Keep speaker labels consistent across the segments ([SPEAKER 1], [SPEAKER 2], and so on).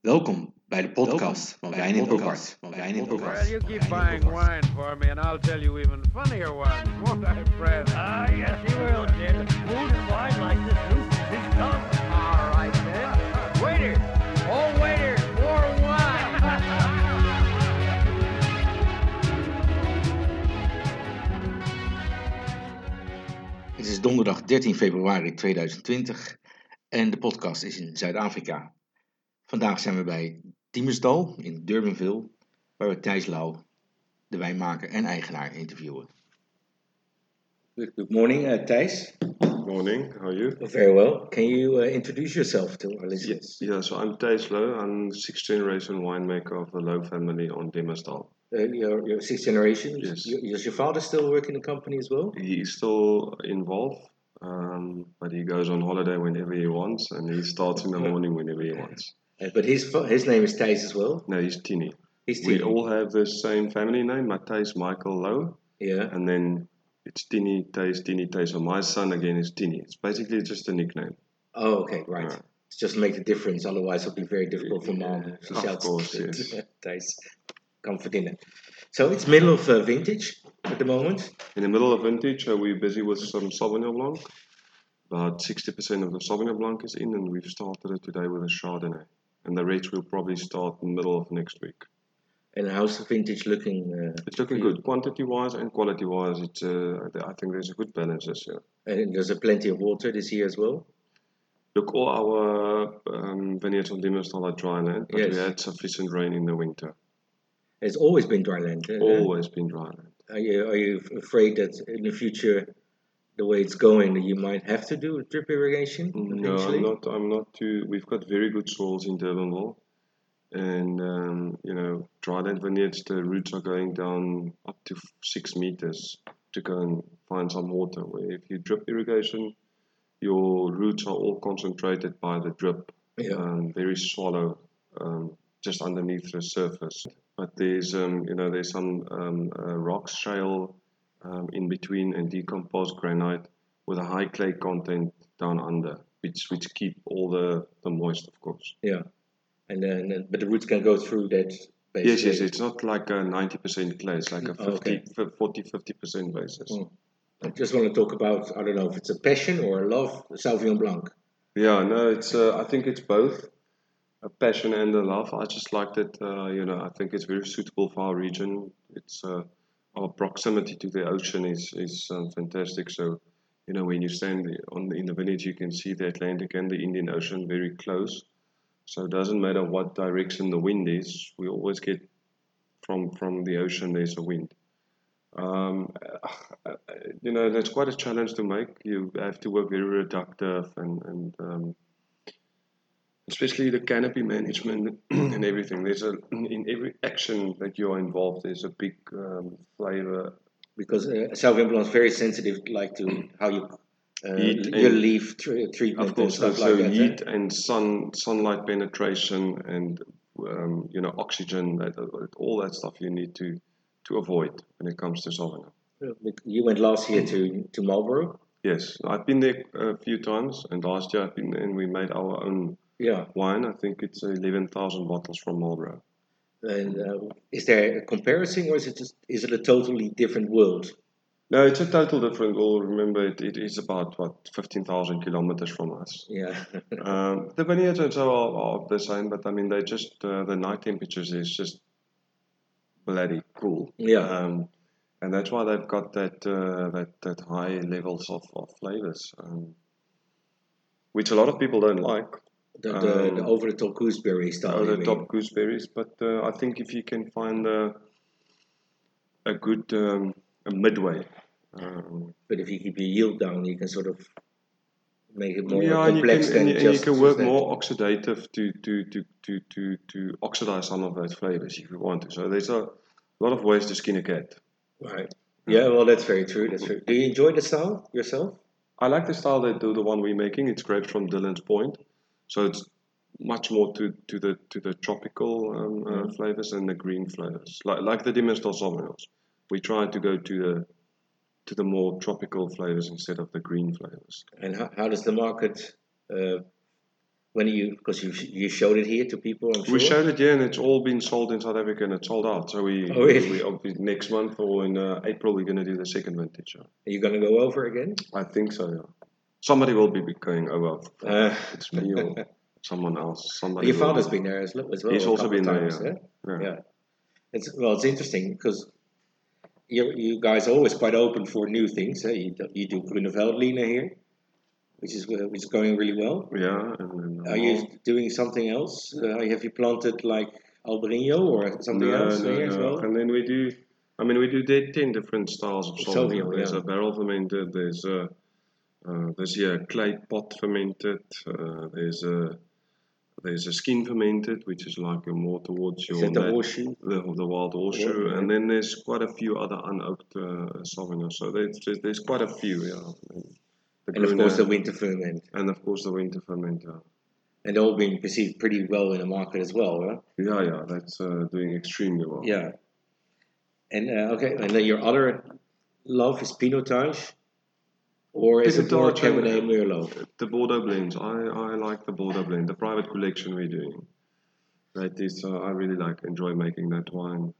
[SPEAKER 1] Welkom bij de podcast van Wijn in Opart. Van Wijn in
[SPEAKER 2] Well, you
[SPEAKER 1] Opart.
[SPEAKER 2] keep buying wine for me, and I'll tell you even funnier ones, won't I, Fred?
[SPEAKER 3] Ah, yes, he will, Jim. Food and wine like this soup is dumb.
[SPEAKER 2] All right, then. Waiter! Oh, waiter! More wine!
[SPEAKER 1] Het is donderdag 13 februari 2020 en de podcast is in Zuid-Afrika. Vandaag zijn we bij Diemesdal in Durbanville, waar we Thijs Lau, de wijnmaker en eigenaar, interviewen. Good morning, uh, Thijs.
[SPEAKER 4] Morning, how are you?
[SPEAKER 1] Very well. Can you uh, introduce yourself to our listeners?
[SPEAKER 4] Yes. Yeah, so I'm Thijs Leu. I'm sixth generation winemaker of the Leu family on Dimmersdal.
[SPEAKER 1] Uh, your, your sixth generation.
[SPEAKER 4] Yes.
[SPEAKER 1] You- does your father still work in the company as well?
[SPEAKER 4] He is still involved, um, but he goes on holiday whenever he wants and he starts in the morning whenever he wants.
[SPEAKER 1] Uh, but his fa- his name is Thijs as well.
[SPEAKER 4] No, he's Tini.
[SPEAKER 1] He's
[SPEAKER 4] We
[SPEAKER 1] Tini.
[SPEAKER 4] all have the same family name, Matthijs Michael Leu,
[SPEAKER 1] yeah.
[SPEAKER 4] and then it's Tini, Thijs, Tini, Thijs. So my son again is Tini. It's basically just a nickname.
[SPEAKER 1] Oh, okay, right.
[SPEAKER 4] Yeah.
[SPEAKER 1] It's just make the difference. Otherwise, it'll be very difficult for mom. She
[SPEAKER 4] Of
[SPEAKER 1] shouts.
[SPEAKER 4] course, yes.
[SPEAKER 1] Thijs, come for dinner. So it's middle of uh, vintage at the moment.
[SPEAKER 4] In the middle of vintage, uh, we're busy with some Sauvignon Blanc. About 60% of the Sauvignon Blanc is in, and we've started it today with a Chardonnay. And the rest will probably start in the middle of next week.
[SPEAKER 1] And how's the vintage looking? Uh,
[SPEAKER 4] It's looking good, quantity wise and quality wise. It's uh, I think there's a good balance this year.
[SPEAKER 1] and there's a plenty of water this year as well.
[SPEAKER 4] Look, all our um, vineyards on Dimmersdal are dry land, but
[SPEAKER 1] Yes.
[SPEAKER 4] we had sufficient rain in the winter.
[SPEAKER 1] It's always been dry land. uh,
[SPEAKER 4] Always been dry land.
[SPEAKER 1] Are you, are you afraid that in the future, the way it's going, that you might have to do drip irrigation
[SPEAKER 4] Mm, No,
[SPEAKER 1] eventually?
[SPEAKER 4] I'm not. I'm not too. We've got very good soils in Durbanville, and um, you know, dryland vineyards. The roots are going down up to f- six meters to go and find some water. Where if you drip irrigation, your roots are all concentrated by the drip,
[SPEAKER 1] Yeah.
[SPEAKER 4] um, very shallow, um, just underneath the surface. But there's um, you know there's some um, uh, rock shale um, in between and decomposed granite with a high clay content down under, which which keep all the, the moist, of course.
[SPEAKER 1] Yeah. And then, uh, but the roots can go through that. Basically.
[SPEAKER 4] Yes, yes, it's not like a 90% clay, it's like a 50,
[SPEAKER 1] Oh, okay.
[SPEAKER 4] f- 40, 50% basis.
[SPEAKER 1] Mm. I just want to talk about, I don't know if it's a passion or a love, Sauvignon Blanc.
[SPEAKER 4] Yeah, no, it's. Uh, I think it's both a passion and a love. I just liked it. Uh, you know, I think it's very suitable for our region. It's uh, our proximity to the ocean is is um, fantastic. So, you know, when you stand on the, in the village, you can see the Atlantic and the Indian Ocean very close. So it doesn't matter what direction the wind is. We always get from from the ocean. There's a wind. Um, you know, that's quite a challenge to make. You have to work very reductive and, and um, especially the canopy management and everything. There's a in every action that you're involved. There's a big um, flavor
[SPEAKER 1] because uh, Sauvignon Blanc is very sensitive, like to how you uh,
[SPEAKER 4] Heat
[SPEAKER 1] your
[SPEAKER 4] and-
[SPEAKER 1] leaf tre- treatment
[SPEAKER 4] of course,
[SPEAKER 1] and
[SPEAKER 4] so,
[SPEAKER 1] stuff like that.
[SPEAKER 4] heat
[SPEAKER 1] eh?
[SPEAKER 4] and sun, sunlight penetration, and um, you know oxygen. That, that- all that stuff you need to to avoid when it comes to Sauvignon.
[SPEAKER 1] You went last year to to Marlborough.
[SPEAKER 4] Yes, I've been there a few times, and last year I've been there and we made our own
[SPEAKER 1] Yeah,
[SPEAKER 4] wine. I think it's 11,000 bottles from Marlborough.
[SPEAKER 1] and uh, is there a comparison, or is it just, is it a totally different world?
[SPEAKER 4] No, it's a total different world. Remember, it, it is about, what, 15,000 kilometers from us.
[SPEAKER 1] Yeah,
[SPEAKER 4] Um, the vineyards and so are, are the same, but I mean, they just, uh, the night temperatures is just bloody cool.
[SPEAKER 1] Yeah.
[SPEAKER 4] Um, and that's why they've got that, uh, that, that high levels of, of flavors, um, which a lot of people don't like.
[SPEAKER 1] the, the, the
[SPEAKER 4] Um,
[SPEAKER 1] over the top gooseberry stuff.
[SPEAKER 4] over
[SPEAKER 1] you
[SPEAKER 4] the
[SPEAKER 1] mean.
[SPEAKER 4] top gooseberries, but uh, I think if you can find a, a good um, a midway. Um,
[SPEAKER 1] But if you keep your yield down, you can sort of make it more
[SPEAKER 4] yeah, and you, can,
[SPEAKER 1] complex
[SPEAKER 4] and,
[SPEAKER 1] than
[SPEAKER 4] you, and you
[SPEAKER 1] just
[SPEAKER 4] can work
[SPEAKER 1] that.
[SPEAKER 4] more oxidative to, to, to, to, to, to oxidize some of those flavors if you want to. So there's a lot of ways to skin a cat.
[SPEAKER 1] Right.
[SPEAKER 4] Mm.
[SPEAKER 1] Yeah, well, that's very true. That's very, do you enjoy the style yourself?
[SPEAKER 4] I like the style that the, the one we're making. It's grapes from Dylan's Point, so it's much more to, to the to the tropical um,
[SPEAKER 1] Mm-hmm.
[SPEAKER 4] uh, flavors and the green flavors, like like the Dimmersdal Sauvignons. We try to go to the to the more tropical flavors instead of the green flavors.
[SPEAKER 1] And how, how does the market uh, when you because you you showed it here to people. I'm sure.
[SPEAKER 4] We showed it, yeah, and it's all been sold in South Africa and it's sold out. So we,
[SPEAKER 1] Oh, really?
[SPEAKER 4] we, we next month or in uh, April we're going to do the second vintage. Yeah.
[SPEAKER 1] Are you gonna go over again?
[SPEAKER 4] I think so. Yeah. Somebody will be going over.
[SPEAKER 1] Uh,
[SPEAKER 4] It's me or someone else. Somebody.
[SPEAKER 1] your
[SPEAKER 4] will-
[SPEAKER 1] father's been there as, lo- as well.
[SPEAKER 4] He's
[SPEAKER 1] a
[SPEAKER 4] also
[SPEAKER 1] couple
[SPEAKER 4] been there,
[SPEAKER 1] times,
[SPEAKER 4] yeah.
[SPEAKER 1] huh?
[SPEAKER 4] Yeah.
[SPEAKER 1] Yeah. It's well, it's interesting because you you guys are always quite open for new things. Huh? You do- you do Gruneveldliner here, which is uh, which is going really well.
[SPEAKER 4] Yeah, and then
[SPEAKER 1] Are you doing something else? Uh, have you planted like Albarino or something else here as well?
[SPEAKER 4] And then we do. I mean, we do de- ten different styles of
[SPEAKER 1] Sauvignon,
[SPEAKER 4] Sauvignon. There's
[SPEAKER 1] yeah.
[SPEAKER 4] a barrel fermented. There's a uh, there's here a clay pot fermented. Uh, there's a there's a skin fermented, which is like a more towards your
[SPEAKER 1] Is that the
[SPEAKER 4] nat-
[SPEAKER 1] horseshoe?
[SPEAKER 4] the, the wild horseshoe,
[SPEAKER 1] Yeah.
[SPEAKER 4] and then there's quite a few other unoaked uh, Sauvignon. So there's, there's, there's quite a few, yeah. And, the
[SPEAKER 1] And of course
[SPEAKER 4] Gruner,
[SPEAKER 1] the winter ferment,
[SPEAKER 4] and of course the winter fermenter.
[SPEAKER 1] and all being perceived pretty well in the market as well. Huh?
[SPEAKER 4] Yeah, yeah, that's uh, doing extremely well.
[SPEAKER 1] Yeah. And uh, okay, and then your other love is Pinotage, or is it more
[SPEAKER 4] Pinotage and-
[SPEAKER 1] Cabernet Merlot?
[SPEAKER 4] The Bordeaux blends, I, I like the Bordeaux blend, the private collection we're doing. That is, uh, I really like enjoy making that wine.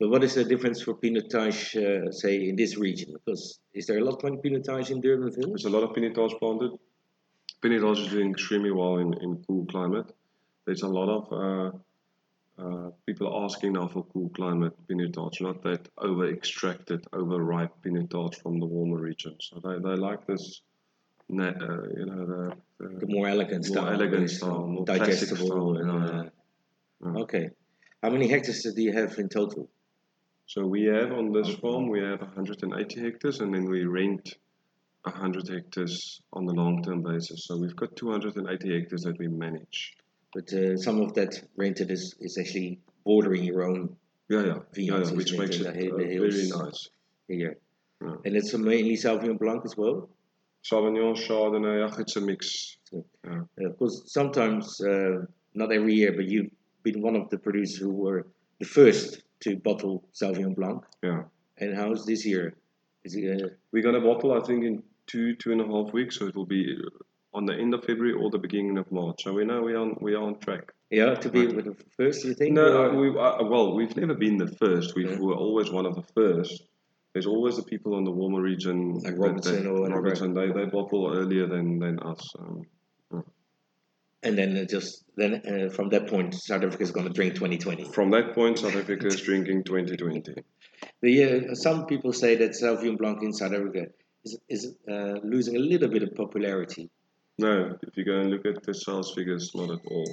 [SPEAKER 1] But what is the difference for Pinotage, uh, say, in this region? Because is there a lot of Pinotage in Durbanville?
[SPEAKER 4] There's a lot of pinotage planted. Pinotage is doing extremely well in, in cool climate. There's a lot of uh, uh, people asking now for cool climate pinotage, not that over extracted, over ripe pinotage from the warmer regions. So they, they like this, na- uh, you know, the,
[SPEAKER 1] The
[SPEAKER 4] the,
[SPEAKER 1] more elegant
[SPEAKER 4] More
[SPEAKER 1] style.
[SPEAKER 4] elegant
[SPEAKER 1] with
[SPEAKER 4] style, more classic
[SPEAKER 1] digestible.
[SPEAKER 4] style,
[SPEAKER 1] and,
[SPEAKER 4] yeah. Mm.
[SPEAKER 1] uh,
[SPEAKER 4] Yeah.
[SPEAKER 1] Okay. How many hectares do you have in total?
[SPEAKER 4] So we have on this farm we have 180 hectares, and then we rent 100 hectares on a long-term basis. So we've got 280 hectares that we manage.
[SPEAKER 1] But uh, some of that rented is, is actually bordering your own
[SPEAKER 4] Yeah, yeah, yeah,
[SPEAKER 1] Vineyards
[SPEAKER 4] yeah which
[SPEAKER 1] is
[SPEAKER 4] makes it
[SPEAKER 1] maintained
[SPEAKER 4] uh,
[SPEAKER 1] in the hills.
[SPEAKER 4] very nice.
[SPEAKER 1] here.
[SPEAKER 4] Yeah.
[SPEAKER 1] And it's mainly Sauvignon Blanc as well?
[SPEAKER 4] Sauvignon, Chardonnay, yeah, it's a mix.
[SPEAKER 1] Uh, Of course, sometimes, uh, not every year, but you've been one of the producers who were the first to bottle Sauvignon Blanc.
[SPEAKER 4] Yeah,
[SPEAKER 1] And how's this year? Is it, uh,
[SPEAKER 4] we're gonna bottle I think in two two and a half weeks, so it will be uh, on the end of February or the beginning of March. So we know we are on, we are on track.
[SPEAKER 1] yeah, to be with the first, you think?
[SPEAKER 4] No,
[SPEAKER 1] or-
[SPEAKER 4] we, uh, well, we've never been the first. We've, We're always one of the first. There's always the people in the warmer region.
[SPEAKER 1] Like Robertson or whatever.
[SPEAKER 4] Robertson, they, they bottle earlier than, than us. Um,
[SPEAKER 1] and then uh, just then uh, from that point, South Africa is going to drink 2020.
[SPEAKER 4] from that point, South Africa is drinking 2020.
[SPEAKER 1] The, uh, some people say that Sauvignon Blanc in South Africa is, is uh, losing a little bit of popularity.
[SPEAKER 4] No, if you go and look at the sales figures, not at all.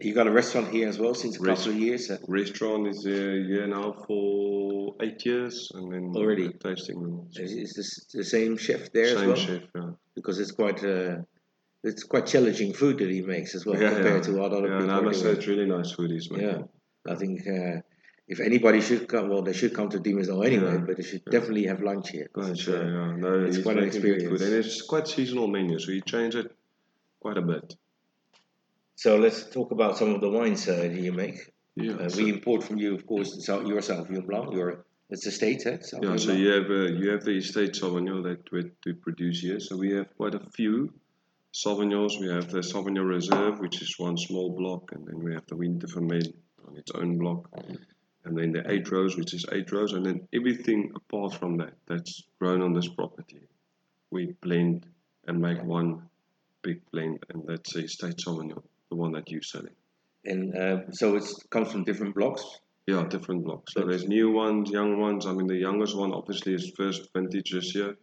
[SPEAKER 1] You got a restaurant here as well since a couple of years. uh,
[SPEAKER 4] Restaurant is a year now for eight years, and then
[SPEAKER 1] Already?
[SPEAKER 4] the tasting room.
[SPEAKER 1] Is, is this the same chef there as
[SPEAKER 4] Same
[SPEAKER 1] well?
[SPEAKER 4] chef, yeah.
[SPEAKER 1] because it's quite uh, it's quite challenging food that he makes as well
[SPEAKER 4] yeah,
[SPEAKER 1] compared
[SPEAKER 4] yeah.
[SPEAKER 1] to what other
[SPEAKER 4] yeah, and
[SPEAKER 1] people
[SPEAKER 4] I
[SPEAKER 1] are
[SPEAKER 4] must say
[SPEAKER 1] doing.
[SPEAKER 4] it's really nice food he's making.
[SPEAKER 1] yeah, I think uh, if anybody should come, well, they should come to Demons Hall anyway,
[SPEAKER 4] Yeah,
[SPEAKER 1] but they should definitely have lunch here. 'cause
[SPEAKER 4] Right,
[SPEAKER 1] it's,
[SPEAKER 4] yeah,
[SPEAKER 1] uh,
[SPEAKER 4] yeah. No,
[SPEAKER 1] it's
[SPEAKER 4] he's
[SPEAKER 1] quite an
[SPEAKER 4] making good
[SPEAKER 1] experience.
[SPEAKER 4] Food. And it's quite seasonal menu, so you change it quite a bit.
[SPEAKER 1] So let's talk about some of the wines uh, that you make.
[SPEAKER 4] Yeah.
[SPEAKER 1] Uh,
[SPEAKER 4] so,
[SPEAKER 1] we import from you, of course, the Sau- your Sauvignon Blanc. Your it's a state, eh? Sauvignon
[SPEAKER 4] yeah, so
[SPEAKER 1] Blanc.
[SPEAKER 4] you have uh, you have the estate Sauvignon that we to produce here. So we have quite a few Sauvignons. We have the Sauvignon Reserve, which is one small block, and then we have the Winter Vermel on its own block, and then the Eight Rows, which is Eight Rows, and then everything apart from that that's grown on this property, we blend and make one big blend, and that's the estate Sauvignon, the one that you're selling.
[SPEAKER 1] and uh, so it comes from different blocks.
[SPEAKER 4] Yeah, different blocks. So
[SPEAKER 1] But-
[SPEAKER 4] there's new ones, young ones. I mean, the youngest one obviously is first vintage this year,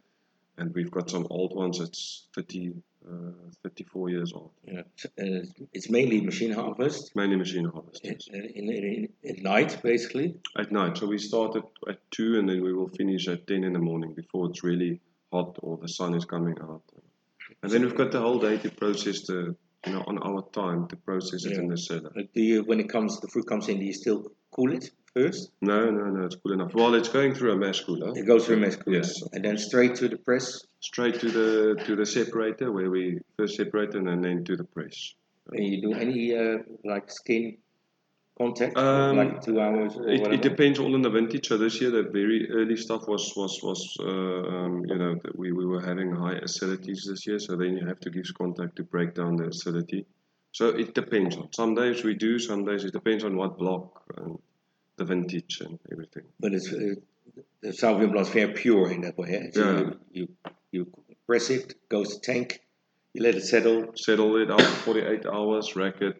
[SPEAKER 4] and we've got some old ones that's 30, uh, 34 years old.
[SPEAKER 1] Yeah. So, uh, it's mainly machine harvest uh,
[SPEAKER 4] Mainly machine harvest.
[SPEAKER 1] in,
[SPEAKER 4] yes.
[SPEAKER 1] in, in, in, at night, basically.
[SPEAKER 4] At night, so we start at, at two, and then we will finish at ten in the morning before it's really hot or the sun is coming out. And then we've got the whole day to process the, you know, on our time to process it in
[SPEAKER 1] Yeah.
[SPEAKER 4] the cellar.
[SPEAKER 1] Like, do you, when it comes, the fruit comes in, do you still cool it first?
[SPEAKER 4] No, no, no, it's cool enough. Well, it's going through a mash cooler.
[SPEAKER 1] It goes through a mass cooler,
[SPEAKER 4] Yes.
[SPEAKER 1] and then straight to the press,
[SPEAKER 4] straight to the to the separator where we first separate it and then to the press.
[SPEAKER 1] and you do any uh, like skin contact?
[SPEAKER 4] Um,
[SPEAKER 1] like two hours or
[SPEAKER 4] It,
[SPEAKER 1] whatever?
[SPEAKER 4] it depends all on the vintage. So this year, the very early stuff was was was uh, um, you know that we, we were having high acidities this year. So then you have to give contact to break down the acidity. So it depends. Some days we do. Some days it depends on what block and the vintage and everything.
[SPEAKER 1] But it's, uh, the salvia blood is very pure in that way. Eh? So
[SPEAKER 4] Yeah.
[SPEAKER 1] you, you, you press it, goes to tank, you let it settle,
[SPEAKER 4] Settle it after 48 hours. Rack it.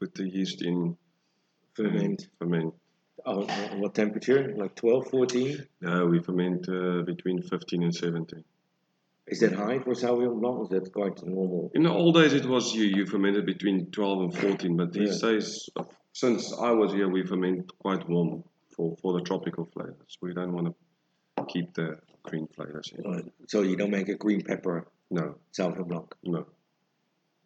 [SPEAKER 4] Put the yeast in.
[SPEAKER 1] ferment.
[SPEAKER 4] Ferment.
[SPEAKER 1] On, on what temperature? Like 12, 14?
[SPEAKER 4] No, we ferment uh, between 15 and 17.
[SPEAKER 1] Is that high for salvia blood? Is that quite normal?
[SPEAKER 4] In the old days, it was you, you fermented between 12 and 14, but these days, uh, since I was here, we ferment quite warm for, for the tropical flavors. We don't want to keep the green flavors in.
[SPEAKER 1] Uh, So you don't make a green pepper
[SPEAKER 4] No,
[SPEAKER 1] salvia blood,
[SPEAKER 4] no.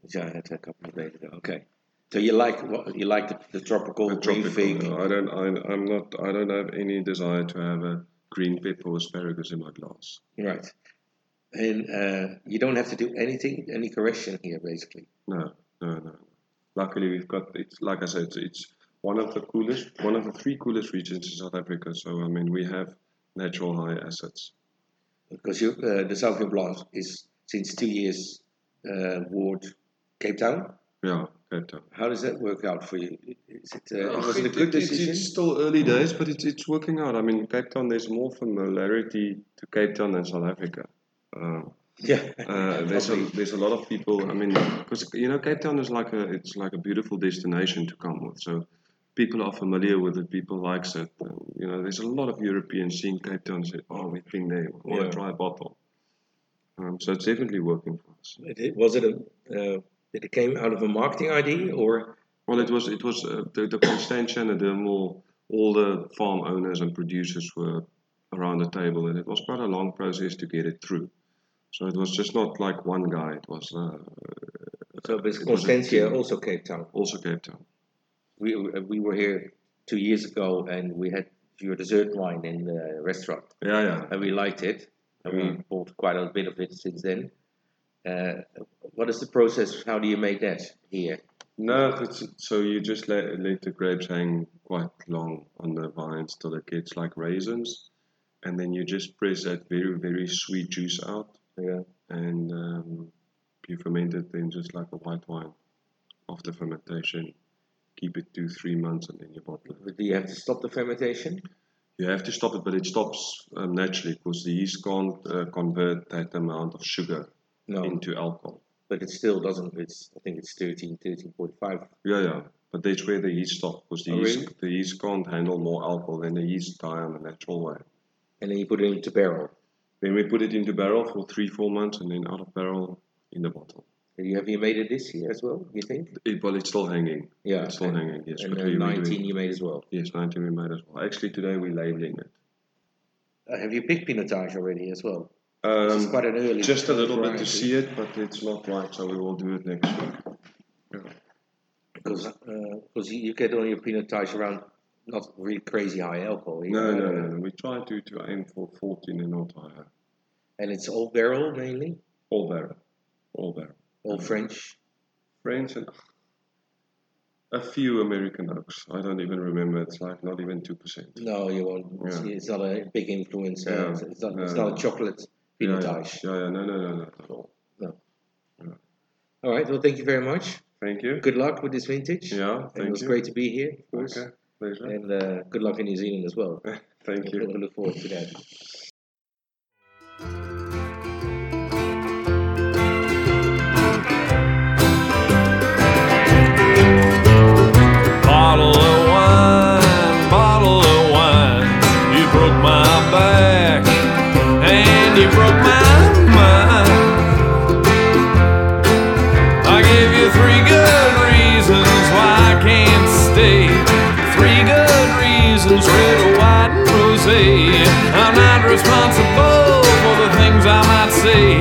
[SPEAKER 1] which I had a couple of days ago. Okay. So you like what- you like the, the tropical
[SPEAKER 4] The
[SPEAKER 1] green fig?
[SPEAKER 4] tropical, uh, I don't, I, I'm not, I don't have any desire to have a green pepper or asparagus in my glass.
[SPEAKER 1] Right. And uh, you don't have to do anything, any correction here, basically.
[SPEAKER 4] No, no, no. Luckily, we've got it's like I said, it's, it's one of the coolest, one of the three coolest regions in South Africa. So I mean, we have natural high assets.
[SPEAKER 1] Because you, uh, the Sauvignon Blanc is since two years uh, Ward Cape Town.
[SPEAKER 4] Yeah, Cape Town.
[SPEAKER 1] How does that work out for you? Is it, uh,
[SPEAKER 4] Ugh,
[SPEAKER 1] was it a
[SPEAKER 4] Oh, it-
[SPEAKER 1] good
[SPEAKER 4] it- it's-
[SPEAKER 1] decision?
[SPEAKER 4] It's still early days, but it's, it's working out. I mean, Cape Town, there's more familiarity to Cape Town than South Africa. Uh,
[SPEAKER 1] yeah.
[SPEAKER 4] uh, there's a there's a lot of people. I mean, because you know, Cape Town is like a it's like a beautiful destination to come with. So people are familiar with it. People likes it. And, you know, there's a lot of Europeans seeing Cape Town and say, "Oh, we've been there. We want
[SPEAKER 1] Yeah.
[SPEAKER 4] to try a bottle." Um, so it's definitely working for us.
[SPEAKER 1] It- was it a, uh, that it came out of a marketing idea or?
[SPEAKER 4] Well, it was it was uh, the, the Constantia and the Dermal, all the farm owners and producers were around the table, and it was quite a long process to get it through. So it was just not like one guy. It was uh,
[SPEAKER 1] So it was
[SPEAKER 4] It was a
[SPEAKER 1] Constantia,
[SPEAKER 4] team.
[SPEAKER 1] also Cape Town.
[SPEAKER 4] also Cape Town.
[SPEAKER 1] We, uh, we were here two years ago and we had your dessert wine in the restaurant.
[SPEAKER 4] Yeah, yeah.
[SPEAKER 1] and we liked it, and we
[SPEAKER 4] Yeah.
[SPEAKER 1] bought quite a bit of it since then. Uh, what is the process? How do you make that here?
[SPEAKER 4] No, it's, so you just let, let the grapes hang quite long on the vines till it gets like raisins, and then you just press that very very sweet juice out,
[SPEAKER 1] Yeah.
[SPEAKER 4] and um, you ferment it then just like a white wine after fermentation. Keep it two, three months and then you bottle it.
[SPEAKER 1] Do you have to stop the fermentation?
[SPEAKER 4] You have to stop it, but it stops um, naturally because the yeast can't uh, convert that amount of sugar
[SPEAKER 1] No,
[SPEAKER 4] into alcohol.
[SPEAKER 1] but it still doesn't. It's I think it's 13, 13.5.
[SPEAKER 4] Yeah, yeah. But that's where the yeast stops because the,
[SPEAKER 1] Oh,
[SPEAKER 4] yeast,
[SPEAKER 1] really?
[SPEAKER 4] the yeast can't handle more alcohol than the yeast die on the natural way.
[SPEAKER 1] And then you put it into barrel.
[SPEAKER 4] Then we put it into barrel for three, four months and then out of barrel in the bottle.
[SPEAKER 1] And you have you made it this year as well? You think?
[SPEAKER 4] It, well, it's still hanging.
[SPEAKER 1] Yeah.
[SPEAKER 4] It's still
[SPEAKER 1] and,
[SPEAKER 4] hanging, yes.
[SPEAKER 1] and
[SPEAKER 4] but
[SPEAKER 1] uh,
[SPEAKER 4] we- we're doing-
[SPEAKER 1] 19 you made as well.
[SPEAKER 4] Yes, 19 we made as well. Actually, today we're labeling it.
[SPEAKER 1] Uh, have you picked pinotage already as well? It's
[SPEAKER 4] Um,
[SPEAKER 1] quite an early.
[SPEAKER 4] just a little bit to
[SPEAKER 1] variety.
[SPEAKER 4] see it, but it's not right, so we will do it next week.
[SPEAKER 1] because because you you get all your pinotage around not really crazy high alcohol. you
[SPEAKER 4] No,
[SPEAKER 1] know,
[SPEAKER 4] no, no. no. We try to, to aim for 14 and not higher.
[SPEAKER 1] And it's all barrel mainly.
[SPEAKER 4] All barrel. All barrel.
[SPEAKER 1] All French.
[SPEAKER 4] French and a few American oaks. I don't even remember. It's like not even 2%.
[SPEAKER 1] No, you won't. It's,
[SPEAKER 4] Yeah.
[SPEAKER 1] it's not a big influence. uh,
[SPEAKER 4] Yeah.
[SPEAKER 1] It's, it's not, it's
[SPEAKER 4] No.
[SPEAKER 1] not a chocolate
[SPEAKER 4] Yeah, yeah,
[SPEAKER 1] pinotage.
[SPEAKER 4] yeah, yeah. No, no, no, no. At all.
[SPEAKER 1] All right. Well, thank you very much.
[SPEAKER 4] Thank you.
[SPEAKER 1] Good luck with this vintage.
[SPEAKER 4] Yeah,
[SPEAKER 1] and it
[SPEAKER 4] thank
[SPEAKER 1] was
[SPEAKER 4] you.
[SPEAKER 1] great to be here, of course.
[SPEAKER 4] Okay, pleasure.
[SPEAKER 1] And uh, good luck in New Zealand as well.
[SPEAKER 4] Thank
[SPEAKER 1] I
[SPEAKER 4] you.
[SPEAKER 1] look forward to that.
[SPEAKER 5] Bottle of wine, bottle of wine. You broke my back, and you broke my mind. I gave you three good reasons why I can't stay. Three good reasons, red, white, and rose. I'm not responsible for the things I might say.